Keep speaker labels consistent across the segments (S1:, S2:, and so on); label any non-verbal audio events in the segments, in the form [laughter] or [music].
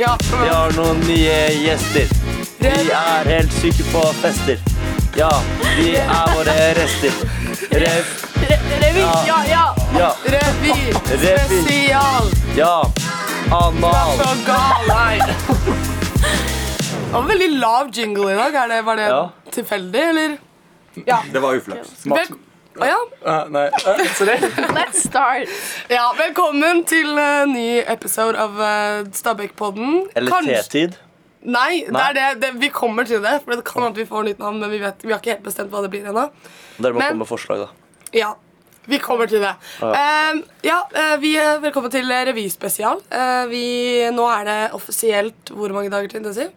S1: Ja.
S2: Vi har noen nye gjester. Vi er helt syke på fester. Ja, vi er våre rester. Rev,
S1: Re revy, ja, ja.
S2: ja,
S1: Revy,
S2: Revy.
S1: spesial.
S2: ja. Anal.
S1: Så gal, nei. Det var en veldig lav jingle i dag. Er det, var det
S2: Ja.
S1: tilfeldig, eller?
S3: Det var uflaks.
S1: Vel Å ja.
S4: Eh, nei, eh, sorry.
S5: Let's start.
S1: ja, velkommen til eh, ny episode av uh, Stabæk-podden.
S2: Eller
S1: Kanskje-
S2: T-tid.
S1: Nei, det
S2: Nei.
S1: er det, det, vi kommer til det. For det kan hende at vi får nytt navn, men vi, vet, vi har ikke helt bestemt hva det blir ennå.
S2: Dere må
S1: Men-
S2: komme med forslag, da.
S1: Ja, vi kommer til det. Eh, ja, eh, vi er Velkommen til eh, revyspesial. Eh, vi, nå er det offisielt hvor mange dager til intensiv?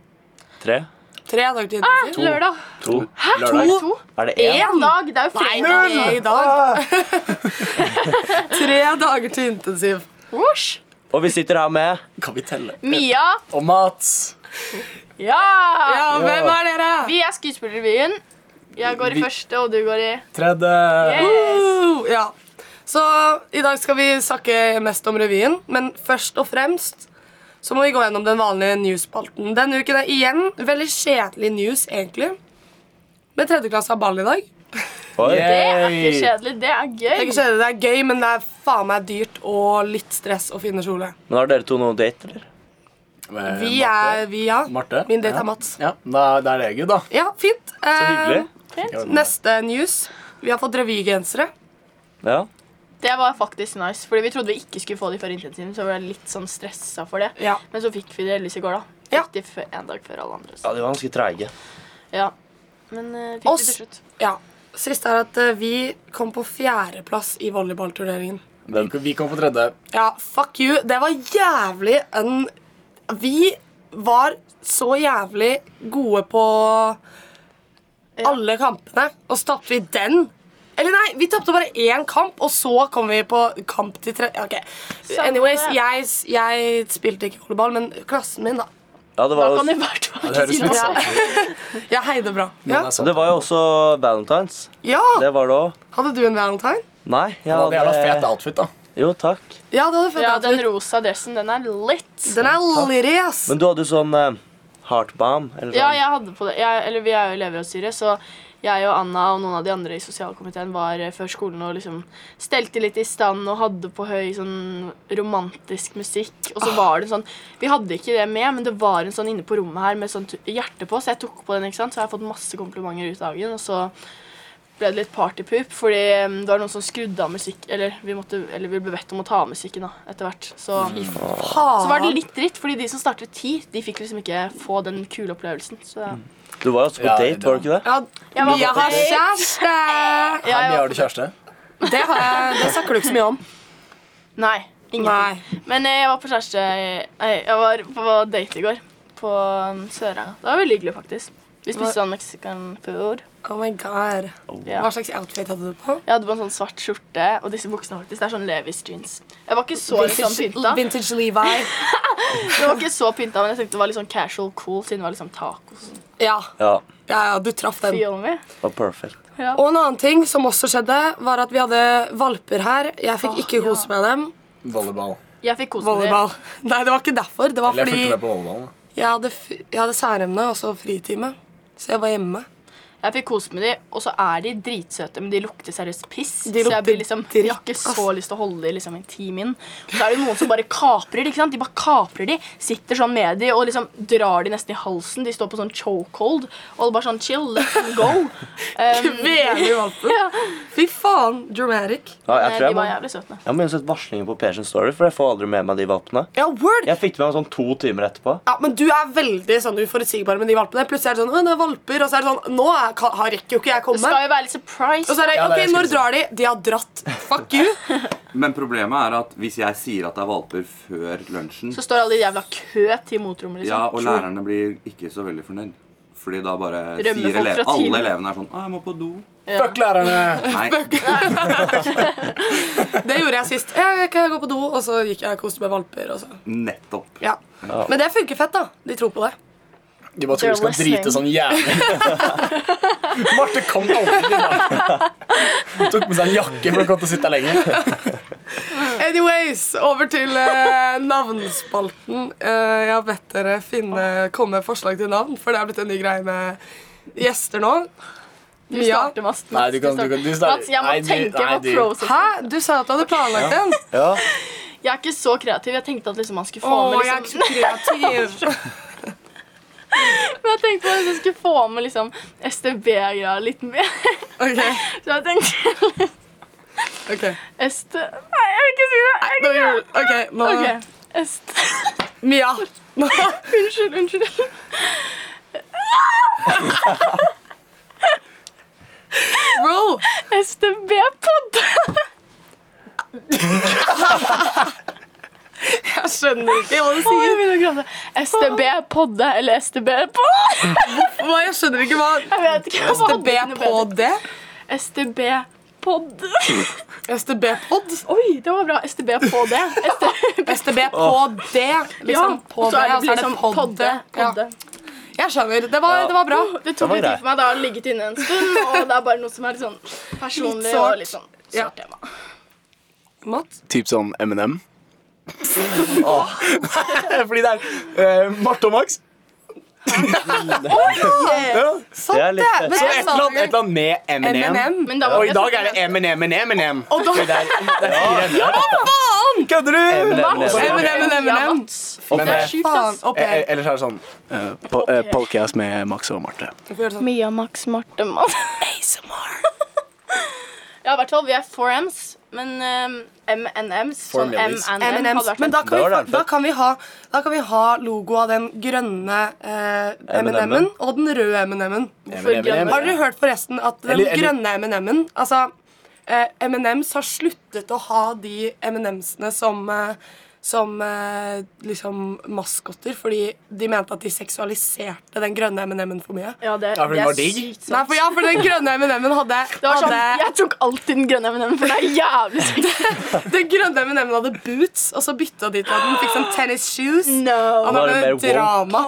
S2: Tre,
S1: Tre dager til intensiv.
S5: Lørdag.
S2: to,
S4: Lørdag.
S1: To.
S2: er det én?
S5: En dag. Det er jo
S1: Nei,
S5: fredag.
S1: null Ah! i dag. [laughs] Tre dager til intensiv.
S5: Whoosh.
S2: Og vi sitter her med
S4: Kan vi telle?
S5: Mia.
S4: Og Mats.
S5: Ja.
S1: Ja, hvem er dere?
S5: Vi er Skuespillerrevyen. Jeg går i
S4: Vi-
S5: første, og du går i
S4: Tredje.
S5: yes.
S1: Uh, ja. Så i dag skal vi snakke mest om revyen, men først og fremst så må vi gå gjennom den vanlige newsspalten. Denne uken er igjen veldig kjedelig news, egentlig. Men tredjeklasse har ball i dag.
S2: Oi.
S5: Det er ikke kjedelig.
S1: Det
S5: Det er
S1: er ikke
S5: gøy.
S1: kjedelig, det er gøy, men det er faen meg dyrt og litt stress å finne kjole.
S2: Men har dere to noe date, eller?
S4: Eh,
S1: Vi er vi, ja.
S4: Marte.
S1: Min date
S4: Ja.
S1: er Mats.
S4: Ja, da, det er det, gud, da.
S1: Ja, fint.
S2: Så hyggelig.
S4: Ja,
S1: Eh, neste news. Vi har fått revygensere.
S2: Ja.
S5: Det var faktisk nice, fordi vi trodde vi ikke skulle få de før intensiven, så vi var litt sånn stressa for det.
S1: Ja.
S5: Men så fikk vi det heldigvis i går, da. Fikk
S1: Ja.
S5: de før- en dag før alle andre.
S2: ja,
S5: Så.
S2: de var ganske treige.
S5: Ja. Men eh, fikk
S1: Oss-
S5: vi til slutt.
S1: ja. Siste er at eh, vi kom på fjerdeplass i volleyballturneringen.
S4: Vi, vi kom på tredje.
S1: Ja, fuck you. Det var jævlig en Vi var så jævlig gode på
S5: Ja.
S1: alle kampene, og så tapte vi den. Eller nei, vi tapte bare én kamp, og så kom vi på kamp til tre... Ok,
S5: Samme
S1: Anyways,
S5: det.
S1: jeg, jeg spilte ikke volleyball, men klassen min, da.
S2: Ja, det
S5: Da
S2: var,
S5: kan du i
S2: jo,
S5: hvert fall
S4: Det
S5: ikke
S4: høres
S5: si
S4: litt
S5: noe.
S4: sånn ut.
S1: Jeg heide bra.
S4: men
S1: Ja.
S4: det er sant.
S2: det var jo også valentines.
S1: ja!
S2: altså, Det var det òg.
S1: Hadde du en valentine?
S2: Nei. Jeg
S4: Han hadde jævla fet
S2: hadde
S4: outfit, da.
S2: Jo, takk.
S1: Ja, det hadde
S5: Ja, den
S1: fett.
S5: rosa dressen, den er litt
S1: den er litt, ass.
S2: Men du hadde jo sånn eh, heart bomb. Eller sånn.
S5: Ja, jeg hadde på det. Jeg, eller vi er jo elever av styret, så jeg og Anna og noen av de andre i sosialkomiteen var eh, før skolen og liksom stelte litt i stand og hadde på høy sånn romantisk musikk. Og så var det en sånn Vi hadde ikke det med, men det var en sånn inne på rommet her med sånn tu- hjerte på, så jeg tok på den, ikke sant. Så jeg har fått masse komplimenter ut dagen, og så ble det litt partypup, fordi eh, det var noen som skrudde av musikk Eller vi, måtte, eller vi ble bedt om å ta av musikken da, etter hvert. Så
S2: Mhm.
S5: så var det litt dritt, fordi de som startet ti, de fikk liksom ikke få den kule opplevelsen. Så ja,
S2: Du var jo også på
S4: Ja,
S2: date,
S4: det
S2: var du ikke det?
S1: ja,
S5: Jeg var
S1: Mia
S5: på
S1: har
S5: date.
S1: kjæreste!
S5: ja,
S4: Mye
S5: jeg
S4: har
S5: var,
S4: du kjæreste?
S1: Det, har jeg, det snakker du ikke så mye om.
S5: nei, ingenting. Men eh, jeg var på kjæreste Nei, jeg var på date i går. På um, Søranga. Det var veldig hyggelig, faktisk. Vi spiste sånn mexican food.
S1: Oh my god.
S5: Ja.
S1: Hva slags outfit hadde du på?
S5: Jeg hadde på en sånn svart skjorte og disse buksene. faktisk, Det er sånn Levis jeans. Jeg var ikke så liksom,
S1: Vintage,
S5: pynta,
S1: vintage Levi.
S5: Jeg var ikke så pynta, men jeg tenkte det var litt sånn casual cool siden det var liksom tacos.
S1: [laughs] Ja,
S2: Ja.
S1: ja, ja du traff den.
S5: Feel me?
S2: det var perfect.
S5: Ja.
S1: Og en annen ting som også skjedde, var at vi hadde valper her. Jeg fikk ikke kose med dem.
S4: Volleyball.
S5: Jeg fikk kose meg.
S1: Volleyball. [laughs] Nei, det var ikke derfor. Det var
S4: Eller jeg
S1: fordi
S4: fulgte med på volleyballen. da.
S1: jeg hadde, f- jeg hadde særemne og så fritime. Så jeg var [laughs] hjemme.
S5: Jeg fikk kose med de, og så er de dritsøte, men de lukter seriøst piss.
S1: De
S5: så jeg, blir
S1: lukter
S5: liksom,
S1: dritt,
S5: jeg har ikke så
S1: ass.
S5: lyst til å holde de liksom, en time inn. Og så er det noen som bare kaprer de. ikke sant? De bare kaprer de, sitter sånn med de og liksom drar de nesten i halsen. De står på sånn chokehold og alle bare sånn chill, let them go.
S1: [laughs]
S5: Um,
S1: Kvelig valper.
S5: [laughs] ja.
S1: Fy faen, dramatic.
S2: Ja, jeg
S5: Eh,
S2: tror
S5: De
S2: jeg må
S5: var
S2: Jeg
S5: jævlig søte.
S2: må begynne å sette varslinger på Persian Story, for jeg får aldri med meg de valpene.
S1: Ja, word.
S2: Jeg fikk det med meg sånn to timer etterpå.
S1: Ja, men du er veldig sånn uforutsigbar med de valpene. Plutselig er det sånn, «Å, det er valper, og så er det sånn, nå er, kan, har- rekker jo ikke jeg
S5: Det
S1: komme.
S5: skal jo være
S1: Og
S5: litt surprise.
S1: så er
S4: Ja,
S1: det,
S4: det er
S1: ok,
S4: det jeg
S1: når
S4: skulle si.
S1: drar de? De har dratt. Fuck you.
S3: Men problemet er at hvis jeg sier at det er valper før lunsjen,
S5: Så står alle i jævla kø til motrommet.
S3: ja,
S5: liksom.
S3: og lærerne blir ikke så veldig fornøyd. Fordi da bare
S5: Rømmer
S3: sier
S5: folk
S3: elev,
S5: fra timen.
S3: alle elevene er sånn Å, jeg må på do.
S4: Fuck lærerne!
S5: [laughs]
S3: Nei,
S1: Det gjorde jeg sist. Jeg kan jeg gå på do, og så gikk jeg og koste med valper. Og så.
S3: nettopp.
S1: Ja. Men det funker fett, da. De tror på det.
S4: De bare tror du skal
S5: They're
S4: drite sånn jævlig. [laughs] Marte kom deg opp i dag. Tok med seg en jakke for å komme til å sitte her lenger.
S1: Anyways, over til eh, navnspalten. Eh, jeg har bedt dere finne, komme med forslag til navn, for det er blitt en ny greie med gjester nå.
S5: Du
S1: Mia.
S5: starter, Mats. Mats,
S4: Nei, du kan-
S5: starter.
S4: du kan- du starter.
S5: Mats, jeg må
S4: Nei, du-
S5: tenke
S4: nei,
S5: på
S4: du-
S5: prosessen.
S1: Hæ? Du sa at du hadde planlagt en.
S2: Ja.
S5: Jeg er ikke så kreativ. Jeg tenkte at liksom, man
S1: Å,
S5: skulle få med
S1: jeg er ikke
S5: liksom,
S1: så kreativ.
S5: Men jeg tenkte at jeg skulle få med liksom, STB-greier litt mer.
S1: [laughs] Ok,
S5: Så jeg tenkte
S1: ok.
S5: est... Nei, jeg vil ikke si det. Jeg
S1: Nå,
S5: vil ikke.
S1: gjorde- ok, nå
S5: Ok, est...
S1: Mia. Nå,
S5: [laughs] Unnskyld, unnskyld.
S1: bro.
S5: STB-pod.
S1: Jeg skjønner ikke hva du
S5: Å, jeg
S1: sier.
S5: begynner å gråte. STB-podde eller STB-pod?
S1: Hva, jeg skjønner ikke hva
S5: Jeg vet ikke. hva hadde
S1: STB
S5: ikke noe
S1: på
S5: bedre.
S1: det.
S5: STB-pod.
S1: STB-pod.
S5: Oi, det var bra. STB-pod.
S1: STB på det. Liksom på det, og så er det
S5: liksom
S1: podde. Ja.
S5: podde.
S1: Jeg skjønner. Det var, det var bra.
S5: Det tok
S2: var greit.
S5: litt tid for meg. Det har ligget inne en stund, og det er bare noe som er litt sånn personlig
S1: Litt sårt.
S5: og litt sånn
S1: Ja.
S5: sårt tema.
S1: Matt?
S4: Typ sånn M&M. [laughs] Fordi det er uh, Marte og Max. Ja.
S1: Sant
S2: Det er litt fett.
S4: Så et eller
S1: men jeg sa
S4: annet, et
S1: det
S4: eller annet med
S1: ikke.
S4: M&M.
S1: M&M.
S5: Men da var
S4: Og i
S5: jeg
S4: dag
S5: sånn-
S4: er det M&M, M&M.
S1: Og da
S4: Det er, det er fire
S1: Faen!
S4: Kødder du?
S2: M&M.
S4: Og så-
S1: M&M.
S5: sånn, Ja,
S1: M&M.
S5: Mats.
S4: Men,
S5: Det
S4: eh,
S5: er sjukt,
S1: Faen.
S5: ass.
S1: opp
S4: eh, eh,
S1: her.
S4: Ellers er det sånn eh, po- eh, Podcast med Max og Marte.
S1: Vi får gjøre sånn.
S5: Mia, Max, Marte, [laughs] Mats. Ja, i hvert fall. Vi er 4Ms, men eh, M&Ms. Sånn
S4: Formelis.
S5: M&M hadde
S1: M&M's.
S5: vært
S1: Men da
S2: Det
S1: kan, vi,
S2: var det.
S1: da, kan vi ha, da kan vi ha logo av den grønne eh, M&M-en og den røde M&M-en.
S5: For grønn-
S1: Har dere hørt forresten at den
S4: Eller- eller-
S1: grønne M&M-en Altså, eh, M&M's har sluttet å ha de M&M'sene som eh, som eh, liksom maskotter, fordi de mente at de seksualiserte den grønne M&M-en for mye.
S5: Ja, det,
S4: Ja, for den
S5: det
S4: var
S5: er
S4: digg.
S5: sykt
S1: Nei,
S5: sant.
S1: for, ja, for den grønne M&M-en hadde,
S5: Det var sånn,
S1: hadde
S5: Jeg tok alltid den grønne M&M, for det er
S1: [laughs]
S5: jævlig sykt.
S1: Den grønne M&M-en hadde boots, og så bytta de til at den fikk sånn tennis shoes. Han
S5: No.
S2: Var det
S1: hadde
S2: mer woke?
S1: drama.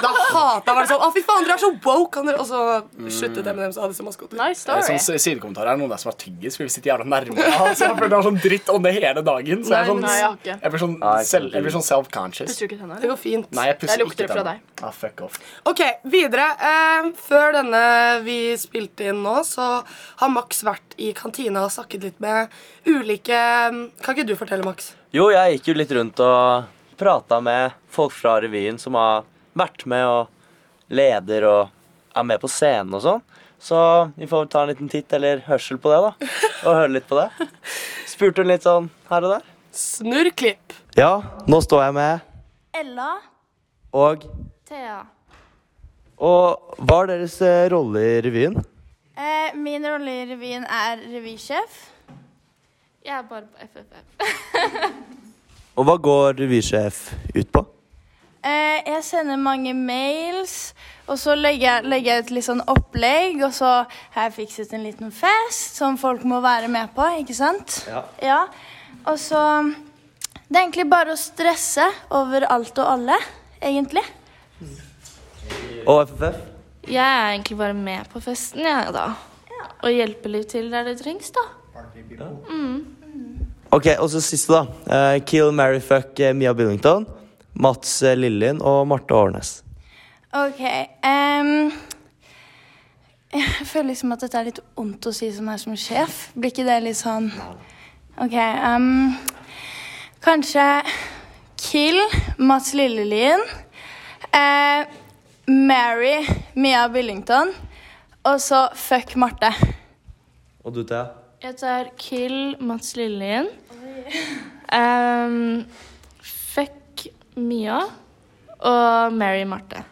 S1: Da hata han var det sånn Å, fy faen, dere er så woke! Han, og så sluttet M&M så hadde de som maskotter.
S4: Eh,
S5: Nice story.
S4: Sånn s- sidekommentar er noen der som er tyggis, for vi sitter jævla nærme. Ja, [laughs] så jeg føler det er sånn dritt ånde hele dagen. Så jeg, er
S1: Nei,
S4: sånn,
S5: Nei, jeg har ikke.
S4: jeg blir sånn,
S2: Nei, jeg
S4: selv-
S2: kan
S4: jeg blir sånn self-conscious.
S5: Pusser du ikke tenner?
S1: Det går fint.
S4: Nei, jeg pusser
S5: Jeg lukter
S4: ikke
S5: det fra
S4: tenna.
S5: deg.
S4: Ah, fuck off.
S1: Ok, videre. Eh, før denne vi spilte inn nå, så har Max vært i kantina og snakket litt med ulike Kan ikke du fortelle, Max?
S2: Jo, jeg gikk jo litt rundt og prata med folk fra revyen som har vært med og leder og er med på scenen og sånn. Så vi får ta en liten titt eller hørsel på det, da. Og høre litt på det. Spurte hun litt sånn her og der.
S1: Snurr klipp.
S2: Ja, nå står jeg med
S6: Ella,
S2: og
S6: Thea.
S2: Og hva er deres eh, rolle i revyen?
S6: Eh, min rolle i revyen er revysjef. Jeg er bare på FFF.
S2: Og hva går revysjef ut på?
S6: Eh, jeg sender mange mails, og så legger jeg, legger jeg ut litt sånn opplegg, og så har jeg fikset en liten fest som folk må være med på, ikke sant?
S2: Ja.
S6: ja. Og så Det er egentlig bare å stresse over alt og alle, egentlig.
S2: Og FFF?
S7: Jeg er egentlig bare med på festen, jeg, da. Og hjelper litt til der det trengs, da.
S2: Ok, og så siste, da. Eh, Kill, Mary, fuck eh, Mia Billington. Mats eh, Lillien og Marte Årnes.
S6: Ok. ehm, jeg føler liksom at dette er litt ondt å si som er som sjef. Blir ikke det litt sånn Ok. ehm, kanskje Kill Mats Lillelien. eh, Mary Mia Billington. Og så fuck Marte.
S2: Og du, Thea?
S7: Jeg tar Kill Mats Lillelien. Um, fuck Mia. Og Mary Marte,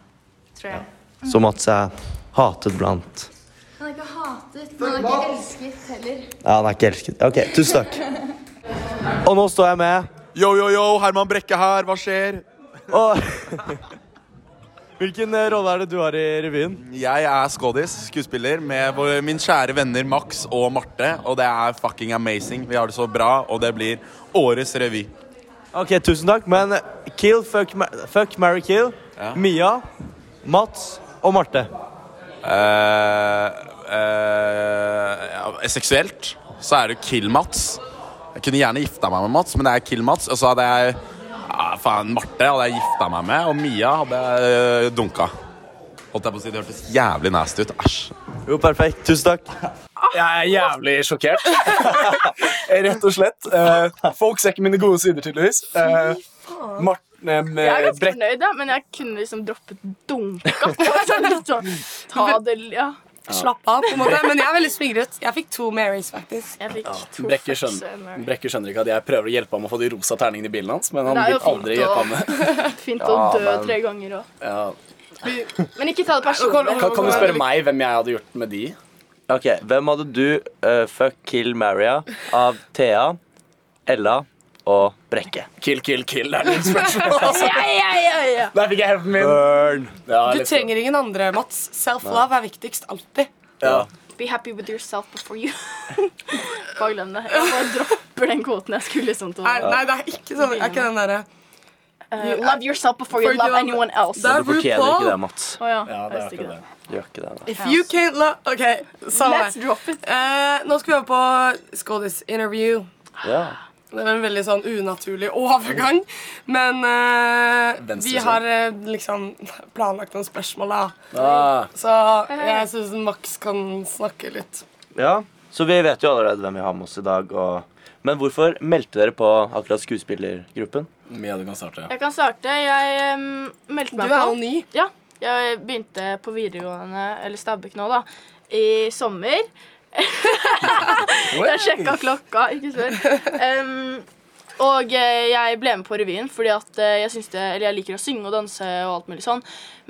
S7: tror jeg.
S2: Så Mats er hatet blant
S6: Han er ikke hatet, men han er ikke elsket heller.
S2: Ja, han er ikke elsket. Ok, tusen takk. Og nå står jeg med
S8: Yo, yo, yo, Herman Brekke her, hva skjer?
S2: og [laughs] Hvilken eh, rolle er det du har i revyen?
S8: Jeg er Skodis, skuespiller, med vår- min kjære venner Max og Marte. Og det er fucking amazing. Vi har det så bra, og det blir årets revy.
S2: Ok, tusen takk, men Kill, fuck, ma fuck Mary Kill,
S8: Ja.
S2: Mia, Mats og Marte.
S8: Eh, eh, ja, seksuelt så er det Kill Mats. Jeg kunne gjerne gifta meg med Mats, men det er Kill Mats. Og så hadde jeg ja, faen, Marte hadde jeg gifta meg med, og Mia hadde jeg øh, dunka. Holdt jeg på å si, Det hørtes jævlig nasty ut. Æsj.
S2: Jo, perfekt. Tusen takk.
S4: Jeg er jævlig sjokkert.
S5: Ah.
S4: [laughs] Rett og slett. Eh, folk ser ikke mine gode sider, tydeligvis. Eh, Marten eh, med
S5: Jeg er ganske
S4: Brekk
S5: fornøyd, da, men jeg kunne liksom droppet dunka. på det, sånn litt sånn, ta det, ja.
S1: Slapp av, på en måte. Men jeg er veldig smigret. Jeg fikk to Marys, faktisk.
S5: Jeg fikk to
S4: Brekke
S5: fucks og en
S4: skjønner,
S5: Mary.
S4: Brekke skjønner ikke at jeg prøver å hjelpe ham å få de rosa terningene i bilen hans, men han
S5: Det er jo
S4: vil aldri
S5: fint å-
S4: hjelpe ham med
S5: [laughs] Fint
S2: Ja,
S5: å dø
S2: men-
S5: tre ganger òg.
S4: ja.
S5: Men ikke ta det personlig.
S4: kan, kan du spørre meg hvem jeg hadde gjort med de?
S2: Ok, Hvem hadde du eh, fuck, kill, Maria av Thea, Ella og Brekke?
S4: Kill, kill, kill. Det er ditt spørsmål. altså. Der fikk jeg hevnen min.
S2: Burn.
S4: Ja,
S1: Du
S2: sånn.
S4: litt-
S1: trenger ingen andre, Mats. Self-love er viktigst alltid.
S4: ja.
S5: Be happy with yourself before you [laughs] Bare glem det. Jeg bare dropper den kvoten jeg skulle liksom til.
S1: Er, nei, det er ikke sånn. Er ikke den derre
S5: Eh, love yourself before you
S1: For
S5: love
S1: you-
S5: anyone else.
S1: Det
S5: Å
S1: er
S2: Du fortjener
S1: RuPaul.
S2: ikke det, Mats.
S5: ja.
S4: ja,
S5: jeg
S4: det er
S5: visste ikke
S4: akkurat det.
S5: det.
S2: Du gjør ikke det. da.
S1: If you can't love OK, samme
S5: Let's drop it.
S1: Eh, nå skal vi over på skådisinterview.
S2: Ja.
S1: Det var en veldig sånn unaturlig overgang. Men eh,
S4: Venstre
S1: vi
S4: side.
S1: har eh, liksom planlagt noen spørsmål, da.
S4: Ah,
S1: Så jeg syns Max kan snakke litt.
S2: Ja, så vi vet jo allerede hvem vi har med oss i dag. Og... Men hvorfor meldte dere på akkurat skuespillergruppen?
S4: Mia, du kan starte.
S5: Jeg kan starte. Jeg em, meldte
S1: Du
S5: meg
S1: er jo
S5: på.
S1: ny.
S5: Ja, jeg begynte på videregående, eller Stabekk nå, da,
S4: [laughs]
S5: i sommer. Jeg sjekka klokka, ikke spør. Em, og eh, jeg ble med på revyen fordi at eh, jeg, syns det, eller jeg liker å synge og danse. og alt mulig sånn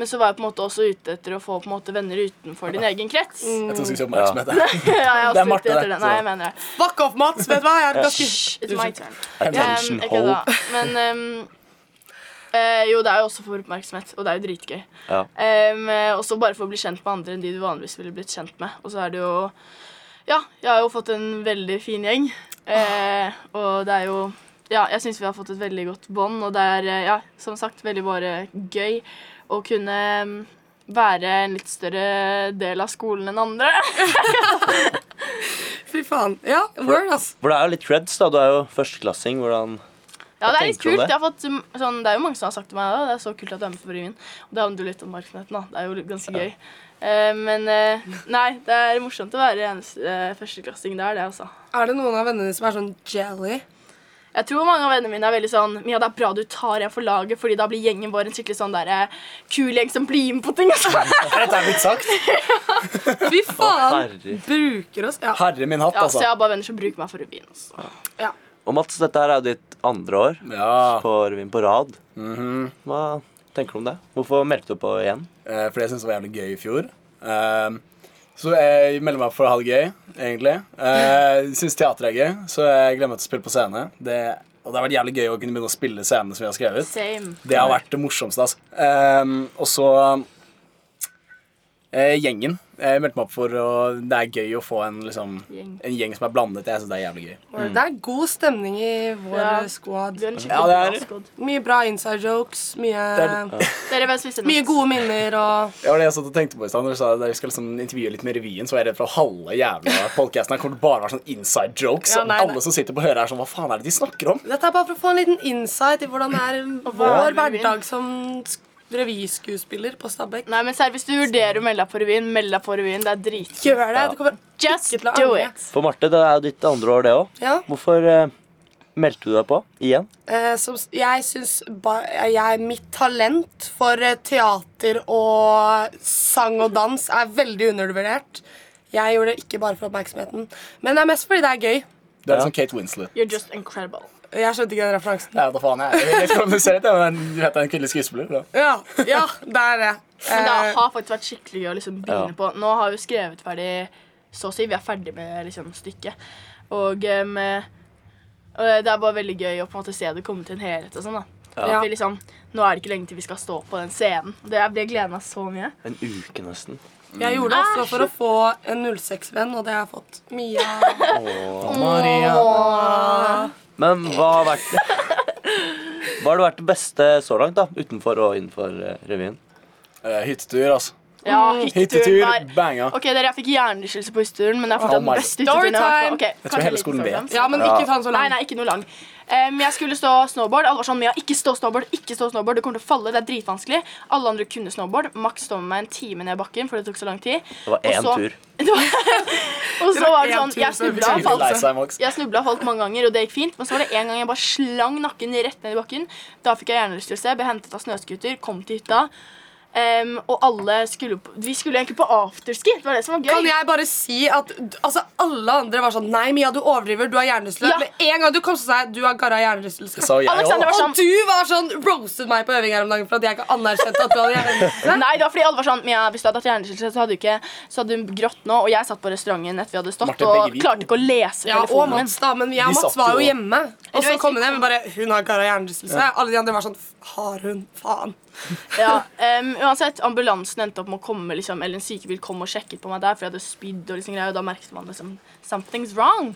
S5: Men så var jeg på en måte også ute etter å få på en måte venner utenfor din egen krets.
S4: Jeg tror du skal si oppmerksomhet. der.
S5: [laughs] Ja, jeg er
S4: Det er
S5: også
S4: Marte,
S5: ute etter
S4: det,
S5: det. Nei,
S4: så-
S5: jeg mener det.
S1: Fuck off, Mats! Vet du hva? Jeg er ganske
S5: It's my turn.
S2: Attention
S5: Um, ikke
S2: hole.
S5: da, Men um, eh, jo, det er jo også for oppmerksomhet, og det er jo dritgøy.
S2: Ja.
S5: Um, eh, også bare for å bli kjent med andre enn de du vanligvis ville blitt kjent med. Og så er det jo Ja, jeg har jo fått en veldig fin gjeng. eh, og det er jo Ja, jeg syns vi har fått et veldig godt bånd, og det er eh, ja, som sagt veldig bare gøy å kunne um, være en litt større del av skolen enn andre.
S1: Fy faen. Ja, word, ass.
S2: For det er jo litt creds, da. Du er jo førsteklassing. Hvordan
S5: Ja, det er
S2: tenker
S5: litt
S2: du om
S5: kult.
S2: det?
S5: Jeg har fått, um, sånn, det er jo mange som har sagt til meg at det er så kult at du er med på revyen. Og det handler jo litt om oppmerksomheten, da. Det er jo litt- ganske gøy. Eh, men eh, nei, det er morsomt å være eneste eh, førsteklassing der, det, altså.
S1: Er det noen av vennene dine som er sånn jelly?
S5: Jeg tror mange av vennene mine er veldig sånn Mia, det er bra du tar en for laget, fordi da blir gjengen vår en skikkelig sånn der eh, kul gjeng som blir med på ting. [laughs] Altså.
S4: [laughs] Dette er blitt sagt.
S1: Fy faen!
S2: herre.
S1: Bruker oss. Ja.
S4: Herre min hatt,
S5: Ja, så
S4: altså.
S5: jeg har bare venner som bruker meg for revyen. Altså.
S2: Og Mats, dette her er jo ditt andre år
S4: Ja,
S2: på revyen på rad. Hva tenker du om det? Hvorfor meldte du på igjen?
S4: eh, for det syntes jeg var jævlig gøy i fjor. Ehm, Så jeg melder meg for å ha det gøy, egentlig. Eh, Jeg syns teater er gøy, så jeg glemmer til å spille på scene. Det, og det har vært jævlig gøy å kunne begynne å spille scenene som vi har skrevet.
S5: Same.
S4: Det har vært det morsomste, altså. Ehm, og så eh, gjengen. Jeg meldte meg opp for å Det er gøy å få en, liksom,
S5: Gjeng.
S4: en gjeng som er blandet. Jeg syns det er jævlig gøy.
S1: Det er god stemning i vår
S5: Ja.
S1: eh, squad.
S5: Du er en skikkelig
S4: Ja, det er-
S5: bra skodd.
S1: Mye bra inside jokes, mye,
S4: Det
S5: Dere, hvem spiste
S1: mye gode minner og
S4: Det var det jeg satt og tenkte på i stad. Når du sa at vi skal liksom intervjue litt med revyen, så var jeg redd for at halve
S5: [laughs]
S4: jævla podcasten her kommer til å bare være sånn inside jokes.
S1: Ja,
S4: og
S1: nei, nei.
S4: alle som sitter på høret, er sånn Hva faen er det de snakker om?
S1: Dette er bare for å få en liten insight i hvordan det er
S5: hva er
S1: vår
S5: revyen?
S1: hverdag som sk- revyskuespiller på Stabekk.
S5: Nei, men serr, hvis du vurderer å melde deg på revyen, meld deg på revyen. Det er dritkult.
S1: Gjør det! Du kommer
S5: Just
S1: ikke til å
S5: do
S1: angre.
S5: it.
S2: For Marte, det er jo ditt andre år, det òg.
S1: Ja.
S2: Hvorfor eh, meldte du deg på igjen?
S1: Eh, som, s- jeg syns ba, jeg, mitt talent for eh, teater og sang og dans er veldig undervurdert. Jeg gjorde det ikke bare for oppmerksomheten, men det er mest fordi det er gøy.
S4: Det er liksom Kate Winslet.
S5: You're just incredible.
S1: Jeg skjønte ikke den referansen.
S4: Jeg vet da faen, jeg. Jeg vet ikke om du ser det, men du vet det er en kvinnelig skuespiller. da.
S1: Ja, ja det er det.
S5: Men det
S1: Eh,
S5: har faktisk vært skikkelig gøy å liksom begynne
S2: Ja.
S5: på. Nå har vi jo skrevet ferdig så å si. Vi er ferdig med liksom, stykket. Og, em, eh, og det er bare veldig gøy å på en måte se det komme til en helhet og sånn. da. At Vi, liksom, nå er det ikke lenge til vi skal stå på den scenen. Det jeg ble gleda så mye.
S2: En uke, nesten.
S1: jeg gjorde det også for å få en 06-venn, og det har jeg fått. Mia.
S2: Men hva har vært
S5: [laughs]
S2: Hva har det vært det beste så langt, da? Utenfor og innenfor eh, revyen?
S4: Eh, Hyttetur, altså.
S5: Ja,
S4: Hyttetur,
S5: hytteturen var
S4: banga.
S5: Ok, dere, Jeg fikk hjernerystelse på hytteturen, men det er fortsatt
S4: my
S5: den beste hytteturen jeg har vært
S1: Storytime!
S5: på. Ok,
S4: Jeg tror
S5: kanskje sånn.
S4: hele
S5: en liten
S4: skolen vet.
S5: forfremst.
S1: [laughs] Ja, men ikke ta den så
S5: Nei,
S1: langt.
S5: nei, ikke noe lang. Em, jeg skulle stå snowboard. Alle var sånn, ja, ikke stå snowboard, ikke stå snowboard, det kommer til å falle, det er dritvanskelig. Alle andre kunne snowboard. Max stå med meg en time ned bakken, for det tok så lang tid.
S2: Det var én
S5: Og så-
S2: tur.
S5: [laughs] Det var- og så var det
S1: én
S5: sånn,
S1: tur
S5: jeg
S1: før vi
S5: snubla og
S1: skulle
S5: falt.
S4: Lei
S5: sånn.
S4: seg, Max.
S5: Jeg snubla og falt mange ganger, og det gikk fint. Men så var det en gang jeg bare slang nakken rett ned i bakken. Da fikk jeg hjernerystelse, ble hentet av snøscooter, kom til hytta. Em, og alle skulle på, Vi skulle egentlig på afterski. Det var det som var gøy.
S1: Kan jeg bare si at altså, alle andre var sånn Nei, Mia, du overdriver. Du har hjernerystelse.
S5: Ja.
S1: Med en gang du kom til seg, du har garra hjernerystelse.
S4: Så jeg også.
S5: Alexander var
S1: Og
S5: sånn
S1: du var sånn roasted meg på øving her om dagen for at jeg ikke anerkjente at du hadde [laughs] hjernerystelse.
S5: Nei, det var fordi alle var sånn Mia, hvis du hadde hatt hjernerystelse, så hadde du ikke Så hadde hun grått nå. Og jeg satt på restauranten etter vi hadde stått
S4: Marte, begge
S5: og
S4: vi to.
S5: klarte ikke å lese
S1: Ja, og
S5: telefonen min.
S1: Mats, da. Men jeg og
S4: Vi
S1: Mats
S4: satt jo
S1: var jo
S4: og-
S1: hjemme. Og så
S5: Røyk-
S1: kom hun hjem og bare Hun har garra hjernerystelse. Alle de andre var sånn Har hun? Faen.
S5: Ja, em, uansett, ambulansen endte opp med å komme, liksom, eller en sykebil kom og sjekket på meg der, for jeg hadde spydd og liksom greier, og da merket man liksom Something's wrong.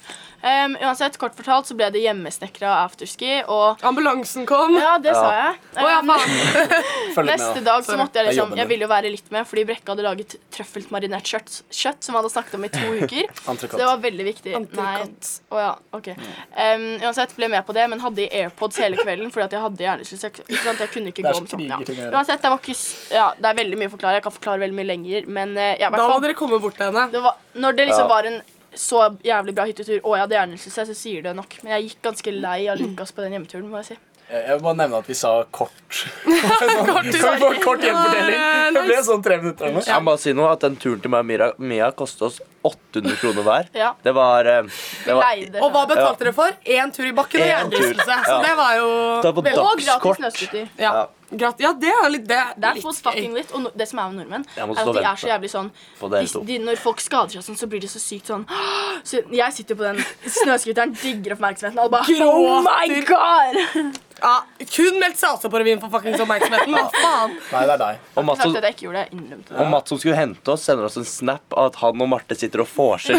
S5: Em, uansett, kort fortalt så ble det hjemmesnekra afterski, og
S1: Ambulansen kom.
S5: ja, det sa jeg.
S1: Å, ja,
S5: Em,
S1: faen.
S4: Følg med.
S5: Neste
S4: da.
S5: dag så måtte jeg
S4: Det er
S5: liksom
S4: jobben
S5: Jeg
S4: din.
S5: ville jo være litt med, fordi Brekke hadde laget trøffelt marinert kjøtt, kjøtt som vi hadde snakket om i to
S4: [laughs]
S5: uker.
S4: Entrecôte.
S5: Så det var veldig viktig.
S1: Entrecôte.
S5: Nei. Å ja, ok.
S4: Mm.
S5: Em, uansett, ble med på det, men hadde i AirPods hele kvelden fordi at jeg hadde hjernerystelse. Jeg- Ikke sant, jeg kunne ikke
S4: Det er
S5: gå
S4: så
S5: om sånn. Ja.
S4: krigerting å gjøre.
S5: Uansett, det var ikke s- Ja, det er veldig mye å forklare. Jeg kan forklare veldig mye lenger, men eh, jeg, i hvert
S1: Da må
S5: fall-
S1: dere komme bort til henne.
S5: det var, Når det liksom var en så jævlig bra hyttetur og jeg hadde hjernerystelse, så sier det nok. Men jeg gikk ganske lei av Lukas på den hjemmeturen, må jeg si.
S4: Jeg vil bare nevne at vi sa kort. [laughs] Kan
S1: [laughs]
S4: vi få en kort gjenfortelling? Det ble sånn tre minutter. eller noe.
S2: Jeg må bare si noe at Den turen til meg og Mira, Mia kostet oss 800 kroner hver.
S5: Ja.
S2: Det var, eh, det var
S5: Leide.
S1: Og hva betalte dere for? Én tur i bakken og
S2: Én tur.
S1: hjernerystelse. Så
S2: Ja.
S1: det var jo
S2: Det var på
S1: veldig-
S5: Og gratis
S2: dagskort.
S5: snøscooter.
S1: Ja, Grat ja det er litt det. er
S5: That's
S1: litt
S5: what's
S1: gøy.
S5: fucking lit. Og no, det som er med nordmenn,
S2: Jeg
S5: er
S2: må
S5: at
S2: stå og
S5: de er
S2: vente
S5: så jævlig sånn
S2: på dere
S5: hvis
S2: to.
S5: de, Når folk skader seg og sånn, så blir de så sykt sånn [gasps] så Jeg sitter på den snøscooteren, digger oppmerksomheten, og alle bare Oh my god!
S1: Ja, Kun meldt seg også på revyen for fuckings oppmerksomheten. Hva faen?
S4: Nei, det er deg.
S2: Og Mats,
S5: Sagt
S2: som-
S5: at jeg ikke gjorde det, jeg innrømte det.
S2: og Mats som skulle hente oss, sender oss en snap av at han og Marte sitter og får seg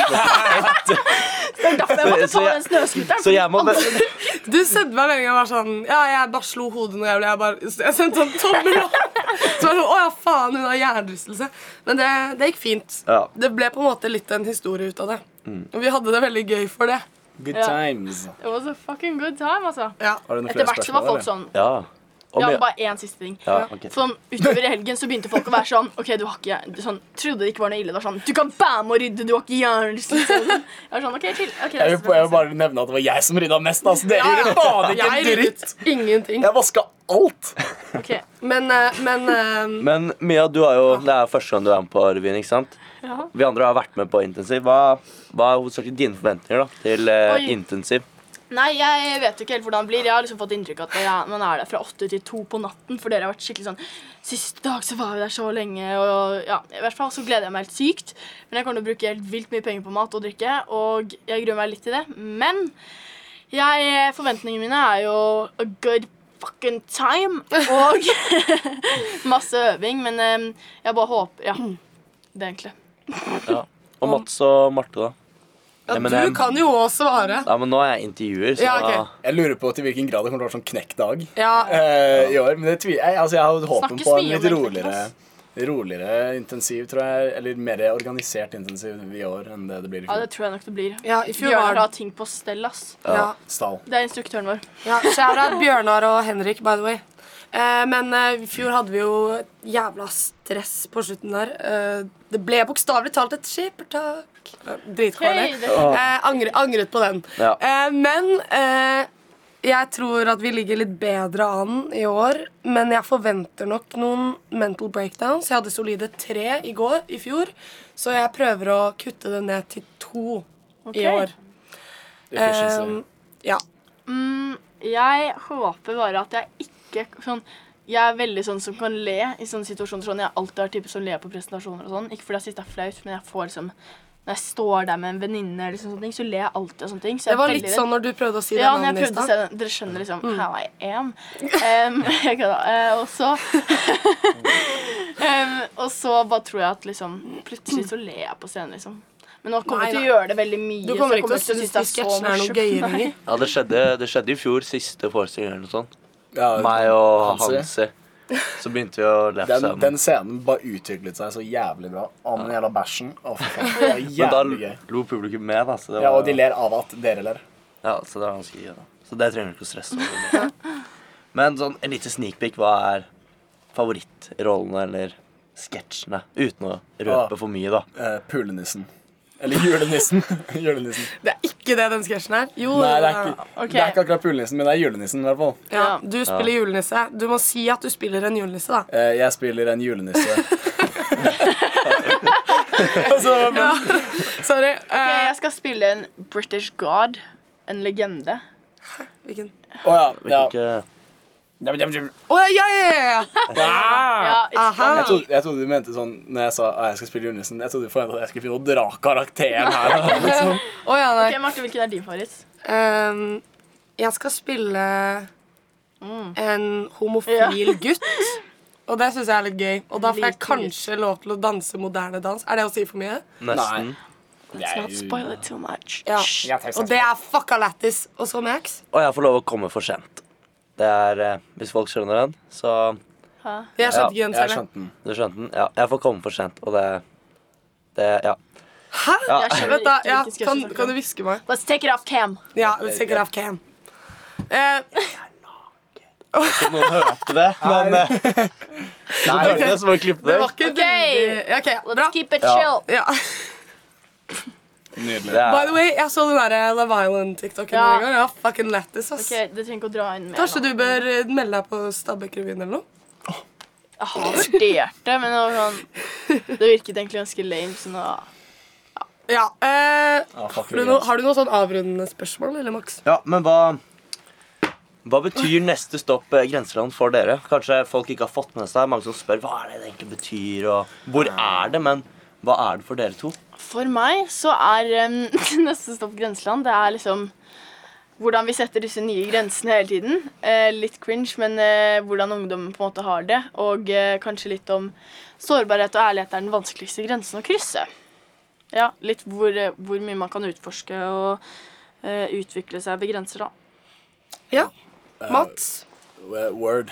S5: Det er derfor jeg
S2: [laughs]
S5: måtte
S2: Så
S5: ta
S2: jeg-
S5: den snøscooteren.
S2: Så jeg må
S5: fordi
S2: bare
S1: Du sendte meg meldinga og var sånn Ja, jeg bare slo hodet noe jævlig. Jeg bare jeg sendte sånn tommel opp. Så var det sånn, Å ja, faen, hun har hjernerystelse. Men det, det gikk fint.
S2: Ja. Mm.
S1: Det ble på en måte litt en historie ut av det. Og vi hadde det veldig gøy for det.
S4: Good
S5: Ja.
S4: times.
S5: alle- It was a fucking good time, altså.
S1: Ja.
S4: Har du noen
S5: Etter
S4: flere
S5: hvert så var
S4: spørsmål?
S5: folk
S4: eller?
S5: sånn
S2: Ja. Og
S5: Ja,
S2: Mia-
S5: bare én siste ting.
S2: Ja, ok.
S5: Sånn, Utover i helgen så begynte folk å være sånn Ok, du har ikke du, sånn, Trodde det ikke var noe ille. Det var sånn Du kan være med og rydde, du har ikke hjernerystelse. Jeg var sånn, ok, chill. Ok,
S4: Jeg vil,
S5: neste
S4: jeg vil
S5: spørsmål.
S4: bare nevne at det var jeg som rydda mest. Altså. Dere gjorde faen ikke
S1: Jeg
S4: en dritt.
S1: ryddet ingenting.
S4: Jeg vaska alt.
S5: Ok.
S1: Men, eh, men eh,
S2: Men Mia, du er jo, det er jo første gang du er med på revyen, ikke sant?
S5: Ja.
S2: Vi andre har vært med på intensiv. Hva, hva er hovedsakelig dine forventninger da, til eh,
S5: Oi.
S2: intensiv?
S5: Nei, jeg vet jo ikke helt hvordan det blir. Jeg har liksom fått inntrykk av at jeg, man er der fra åtte til to på natten. For dere har vært skikkelig sånn Siste dag så var vi der så lenge, og ja. I hvert fall så gleder jeg meg helt sykt. Men jeg kommer til å bruke helt vilt mye penger på mat og drikke, og jeg gruer meg litt til det. Men jeg, forventningene mine er jo a good fucking time og [laughs] masse øving. Men em, jeg bare håper Ja. Det, er egentlig.
S2: Ja. Og Mats og Marte, da?
S1: ja,
S2: men,
S1: du
S2: eh,
S1: kan jo òg svare.
S2: Ja, men Nå er jeg intervjuer, så
S1: Ja, ok.
S2: da-
S4: Jeg lurer på til hvilken grad det kommer til å være sånn knekkdag
S1: Ja,
S4: eh, i år. Men det tvi jeg, altså, jeg har håpet
S5: Snakkes
S4: på en
S5: mye om
S4: litt
S5: den
S4: roligere, roligere intensiv, tror jeg. Eller mer organisert intensiv i år enn det det blir i
S5: Ja, det
S4: fjor.
S5: tror jeg nok det blir.
S1: ja i fjor
S5: Bjørnar
S1: var
S5: har ting på stell, ass.
S1: ja.
S4: Stall.
S5: Det er instruktøren vår.
S1: Ja, Shout-out Bjørnar og Henrik, by the way. Eh, men eh, i fjor hadde vi jo et jævla stress på slutten der. Eh, det ble bokstavelig talt et skippertak. Eh, Dritkvallig.
S5: Hei, det-
S1: Eh, angre, angret på den.
S2: Ja.
S1: Eh, men eh, jeg tror at vi ligger litt bedre an i år. Men jeg forventer nok noen mental breakdowns. Jeg hadde solide tre i går i fjor, så jeg prøver å kutte det ned til to i år.
S4: Efficiency.
S1: Eh, ja.
S5: Mm, Jeg håper bare at jeg ikke sånn jeg er veldig sånn som kan le i sånne situasjoner. sånn, Jeg har alltid vært type som ler på presentasjoner. og sånn, Ikke fordi jeg synes det er flaut, men jeg får liksom Når jeg står der med en venninne, eller sånne ting, så ler jeg alltid av sånne ting. Så jeg
S1: Det
S5: er
S1: var
S5: veldig
S1: litt
S5: redd.
S1: sånn når du prøvde å si det
S5: Ja, når jeg
S1: navnet i
S5: prøvde å
S1: stad.
S5: se den. Dere skjønner liksom
S1: Mm.
S5: how I am. Em, [laughs] jeg kødda. Eh, og så [laughs] Em, Og så bare tror jeg at liksom Plutselig så ler jeg på scenen, liksom. Men nå kommer jeg til å
S1: Nei,
S5: gjøre det veldig mye.
S1: Du
S5: så
S1: kommer
S5: jeg
S1: ikke til å
S5: til
S1: synes de
S5: synes det er så
S1: sketsjene er noe
S5: morsomt.
S1: gøy
S5: Nei.
S1: lenger.
S2: ja det, skjedde, det skjedde i fjor, siste forestilling eller noe sånt.
S4: Ja,
S2: Meg og
S4: Hansi.
S2: Hansi. Så begynte vi å le på
S4: Den,
S2: scenen.
S4: den scenen bare utviklet seg så jævlig bra. Om den jævla bæsjen. Å, fy faen. Det er
S2: Men da
S4: jævlig gøy.
S2: lo publikum med, da. Så det var,
S4: Ja, og de ler av at dere ler.
S2: ja, så det var ganske gøy. da. Så det trenger du ikke å stresse over. Men sånn en liten sneakpeak, hva er favorittrollene eller sketsjene? Uten å
S4: Ah.
S2: røpe for mye, da.
S4: Eh, pulenissen. Eller julenissen. [laughs] julenissen.
S1: [laughs] Det er ikke det den sketsjen er. Jo,
S4: Nei, det er,
S1: [laughs]
S4: ikke,
S5: Ok.
S4: det er ikke akkurat pulenissen, men det er julenissen i hvert fall.
S1: ja, Du spiller julenisse. Du må si at du spiller en julenisse, da.
S4: Eh, jeg spiller en
S2: [laughs]
S4: julenisse. altså, men,
S1: Sorry.
S5: Ok,
S1: eh,
S5: jeg skal spille en British god. En legende.
S1: hvilken?
S4: å ja, ja.
S2: Ikke-
S4: Ja, men- ja, men-
S1: Å ja, ja, ja, ja!
S5: Ja, it's
S1: Aha.
S4: Jeg trodde, jeg trodde du mente sånn Når jeg sa at jeg skal spille julenissen Jeg trodde du forventet at jeg skulle begynne å dra karakteren her liksom.
S1: Å, ja nei.
S5: Ok, Marte, hvilken er din favoritt?
S1: Ehm, jeg skal spille en homofil gutt. Og det syns jeg er litt gøy. Og da får jeg
S5: Liten
S1: kanskje lov til å danse moderne dans. Er det å si for mye?
S2: Nesten.
S4: Det er jo-
S5: Spoil it too much.
S1: Ja.
S4: Ja, takk, takk.
S1: Og det er fucka lættis. Og så Max.
S2: Og jeg får lov å komme for sent. Det er eh, Hvis folk skjønner den, så
S1: Jeg skjønte ikke
S2: Ja,
S1: den
S4: Jeg
S1: selv.
S4: skjønte den
S2: Du skjønte den? Ja. Jeg får komme for sent, og det Det Ja.
S1: Hæ?
S2: Ja.
S5: Jeg skjønner
S1: Vent da,
S5: ikke
S1: ja,
S5: hvilken sketsj
S1: kan,
S5: jeg snakker
S1: kan du
S5: om.
S1: hviske meg?
S5: Let's take it off cam.
S1: Ja, vi stikker av cam. Eh,
S2: Om Noen hørte det, men [laughs] eh, Noen hørte det, så må vi klippe
S1: det
S2: det.
S1: var ikke
S5: Ok.
S1: veldig- OK, bra.
S5: Let's keep it
S2: Ja.
S5: chill.
S1: Ja.
S4: Nydelig
S2: det
S1: By
S2: er,
S1: the way, jeg så den der eh, Love Island-tiktoken
S5: Ja.
S1: en gang. Ja, fucking lættis, ass.
S5: Ok, Du trenger ikke å dra inn mer.
S1: Kanskje
S5: nå.
S1: du bør eh, melde deg på Stabekk-revyen eller noe?
S5: Jeg har vurdert det, men det, var sånn, det virket egentlig ganske lame. Så nå
S1: Ja. Eh,
S4: Ah, fuck,
S1: har, du noe- har du noe sånn avrundende spørsmål, eller Max?
S2: ja, men hva hva betyr neste stopp eh, grenseland for dere? Kanskje folk ikke har fått med seg. Mange som spør hva er det det egentlig betyr, og hvor er det? Men hva er det for dere to?
S5: For meg så er em, [laughs] neste stopp grenseland. Det er liksom hvordan vi setter disse nye grensene hele tiden. Eh, litt cringe, men eh, hvordan ungdommen på en måte har det. Og eh, kanskje litt om sårbarhet og ærlighet er den vanskeligste grensen å krysse. Ja, litt hvor, eh, hvor mye man kan utforske og eh, utvikle seg ved grenser, da.
S1: Ja. Mats?
S4: Eh, Word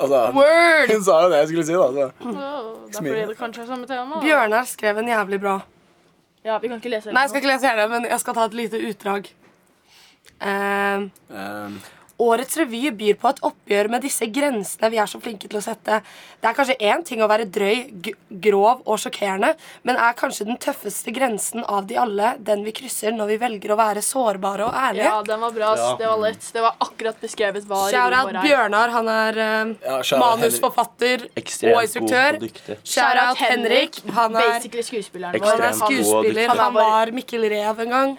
S4: Altså,
S1: Word!
S4: [laughs] hun sa jo det jeg skulle si da altså.
S5: Det er fordi det kanskje er samme tema.
S1: Bjørnar skrev en jævlig bra.
S5: Ja, vi kan ikke lese
S1: Nei, jeg skal ikke lese hele, men jeg skal ta et lite utdrag. Eh,
S4: Ehm,
S1: Årets revy byr på et oppgjør med disse grensene vi er så flinke til å sette. Det er kanskje én ting å være drøy, g grov og sjokkerende, men er kanskje den tøffeste grensen av de alle den vi krysser når vi velger å være sårbare og ærlige.
S5: Ja, den var bra. ass.
S2: Ja.
S5: Det var lett. Det var akkurat beskrevet hva
S1: Shout-out
S5: revyen vår er.
S1: Bjørnar. Han er eh,
S4: Ja, shout-out
S1: manusforfatter
S2: Ekstremt
S1: og instruktør.
S2: god og dyktig.
S1: Shout-out Henrik. Han er,
S5: Basically
S1: han
S5: skuespilleren vår.
S1: er
S2: Ekstremt god og dyktig.
S1: skuespiller. Han var Mikkel Rev en gang.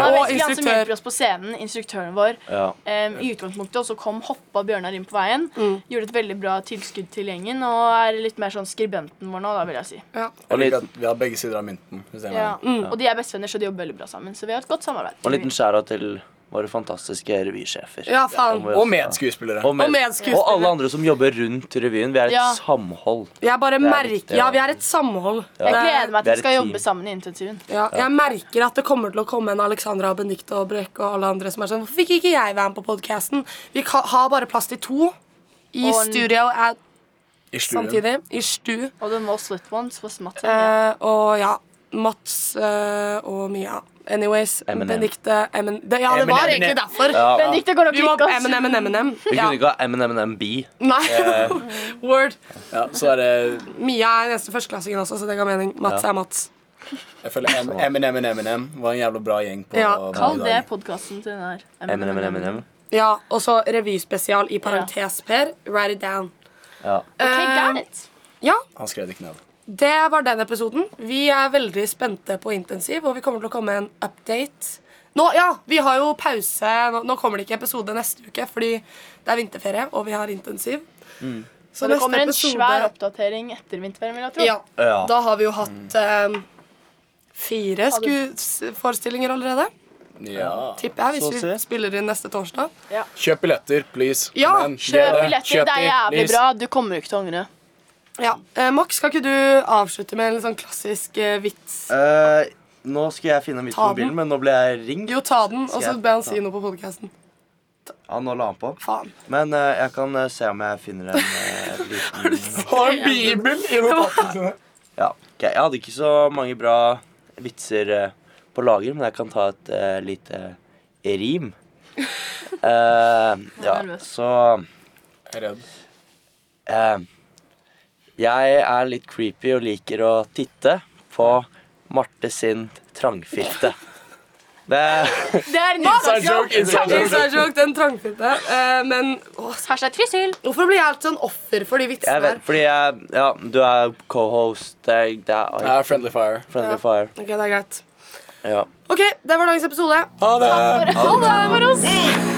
S1: Og
S5: var basically han som
S1: instruktør.
S5: hjelper oss på scenen, instruktøren vår.
S2: Ja.
S5: em, I utgangspunktet, og så kom hoppa Bjørnar inn på veien.
S1: Mm.
S5: Gjorde et veldig bra tilskudd til gjengen og er litt mer sånn skribenten vår nå, da, vil jeg si.
S4: Jeg liker
S2: litt-
S4: at Eh, vi har begge sider av mynten hvis jeg
S5: Ja.
S4: mener.
S1: Mm.
S5: Og de er bestevenner, så de jobber veldig bra sammen. Så vi har et godt samarbeid.
S2: Og en liten skjæra til våre fantastiske revysjefer.
S1: Ja, faen.
S2: må vi
S4: Og
S2: også-
S4: medskuespillere
S2: Og, med,
S1: Og medskuespillere.
S2: og alle andre som jobber rundt revyen. Vi er et
S5: Ja.
S2: samhold.
S1: Jeg bare
S2: er
S1: merker
S2: viktig,
S1: Ja,
S2: ja.
S1: vi er et samhold. Det-
S5: Jeg gleder meg
S2: Vi er
S5: til
S2: et
S5: vi skal
S2: team.
S5: jobbe sammen i intensiven.
S1: Ja, jeg merker at det kommer til å komme en Alexandra og Benedicte og Brekke og alle andre som er sånn Hvorfor fikk ikke jeg være med på podkasten? Vi ka- har bare plass til to i
S5: Og en-
S1: studio at
S4: i stuen.
S1: samtidig. I stu.
S5: Og the most lit ones was Mats.
S1: Eh, og ja, Mats eh, og Mia. Anyways,
S2: Eminem.
S1: Benedicte Emin... Det, ja, det var
S4: Eminem.
S1: egentlig derfor.
S5: Benedicte går og
S1: Vi må
S5: klikker oss.
S1: Eminem, Eminem.
S2: Vi
S1: Ja.
S2: kunne ikke Eh. ha MNMNB.
S1: Nei. [laughs] Word.
S4: ja, Så er det
S1: Mia er den eneste førsteklassingen også, så det ga mening. Mats er Mats.
S4: Jeg føler M- Eminem and Eminem Var en jævla bra gjeng på
S1: Ja,
S4: på
S5: Kall
S4: i dag.
S5: det podkasten til den her.
S2: MNMNM.
S1: Ja, og så revyspesial i parentes, Per. Write it down.
S2: Ja.
S5: Okay, got
S1: Eh,
S5: it.
S1: ja,
S4: Han skrev det ikke ned
S1: Det var den episoden. Vi er veldig spente på intensiv, og vi kommer til å komme med en update. Nå, ja, Vi har jo pause. Nå, nå kommer det ikke episode neste uke, fordi det er vinterferie, og vi har intensiv. Så
S2: Mm.
S5: Så det kommer en svær oppdatering etter vinterferien, vil jeg tro.
S1: Ja,
S2: Ja. Mm.
S1: Da har vi jo hatt eh, fire skueforestillinger allerede,
S4: Ja
S1: tipper jeg,
S2: Så å
S1: hvis
S2: si.
S1: vi spiller inn neste torsdag.
S4: Kjøp billetter, please
S1: Ja,
S4: Men,
S1: kjøp
S5: Kjøp
S4: dere,
S5: billetter, det er jævlig
S4: please.
S5: bra. Du kommer jo ikke til å angre.
S1: Ja, eh, Max, skal ikke du avslutte med en litt sånn klassisk eh, vits?
S2: Eh, nå skulle jeg finne en vits på
S1: Ta den.
S2: mobilen, men nå ble jeg ringt.
S1: Jo, ta den, og
S2: Skal
S1: så
S2: jeg
S1: be han
S2: ta
S1: si noe på podkasten.
S2: Ja, nå la han på.
S1: Faen.
S2: Men eh, jeg kan eh, se om jeg finner en eh, liten
S4: Har
S1: [laughs]
S4: en bibel i notatene sine.
S2: ja. ok, Jeg hadde ikke så mange bra vitser eh, på lager, men jeg kan ta et eh, lite rim. Eh, ja,
S5: nervøs.
S2: så
S4: Jeg er redd.
S2: Eh, jeg er litt creepy og liker å titte på Marte sin trangfitte. Det
S5: Det er Nils.
S4: Inside joke, inside joke.
S1: Inside joke, den trangfitte. Eh, men åh,
S5: Hashtag Trysil.
S1: hvorfor blir jeg alltid sånn offer for de vitsene
S2: jeg vet,
S1: der?
S2: Fordi jeg Ja, du er co-host. Det, er- det er
S4: Jeg er Ah, friendly fire.
S2: Friendly Fire.
S1: Ok, det er greit.
S2: Ja.
S1: Ok, det var dagens episode.
S4: Ha det!
S5: Ha det for oss.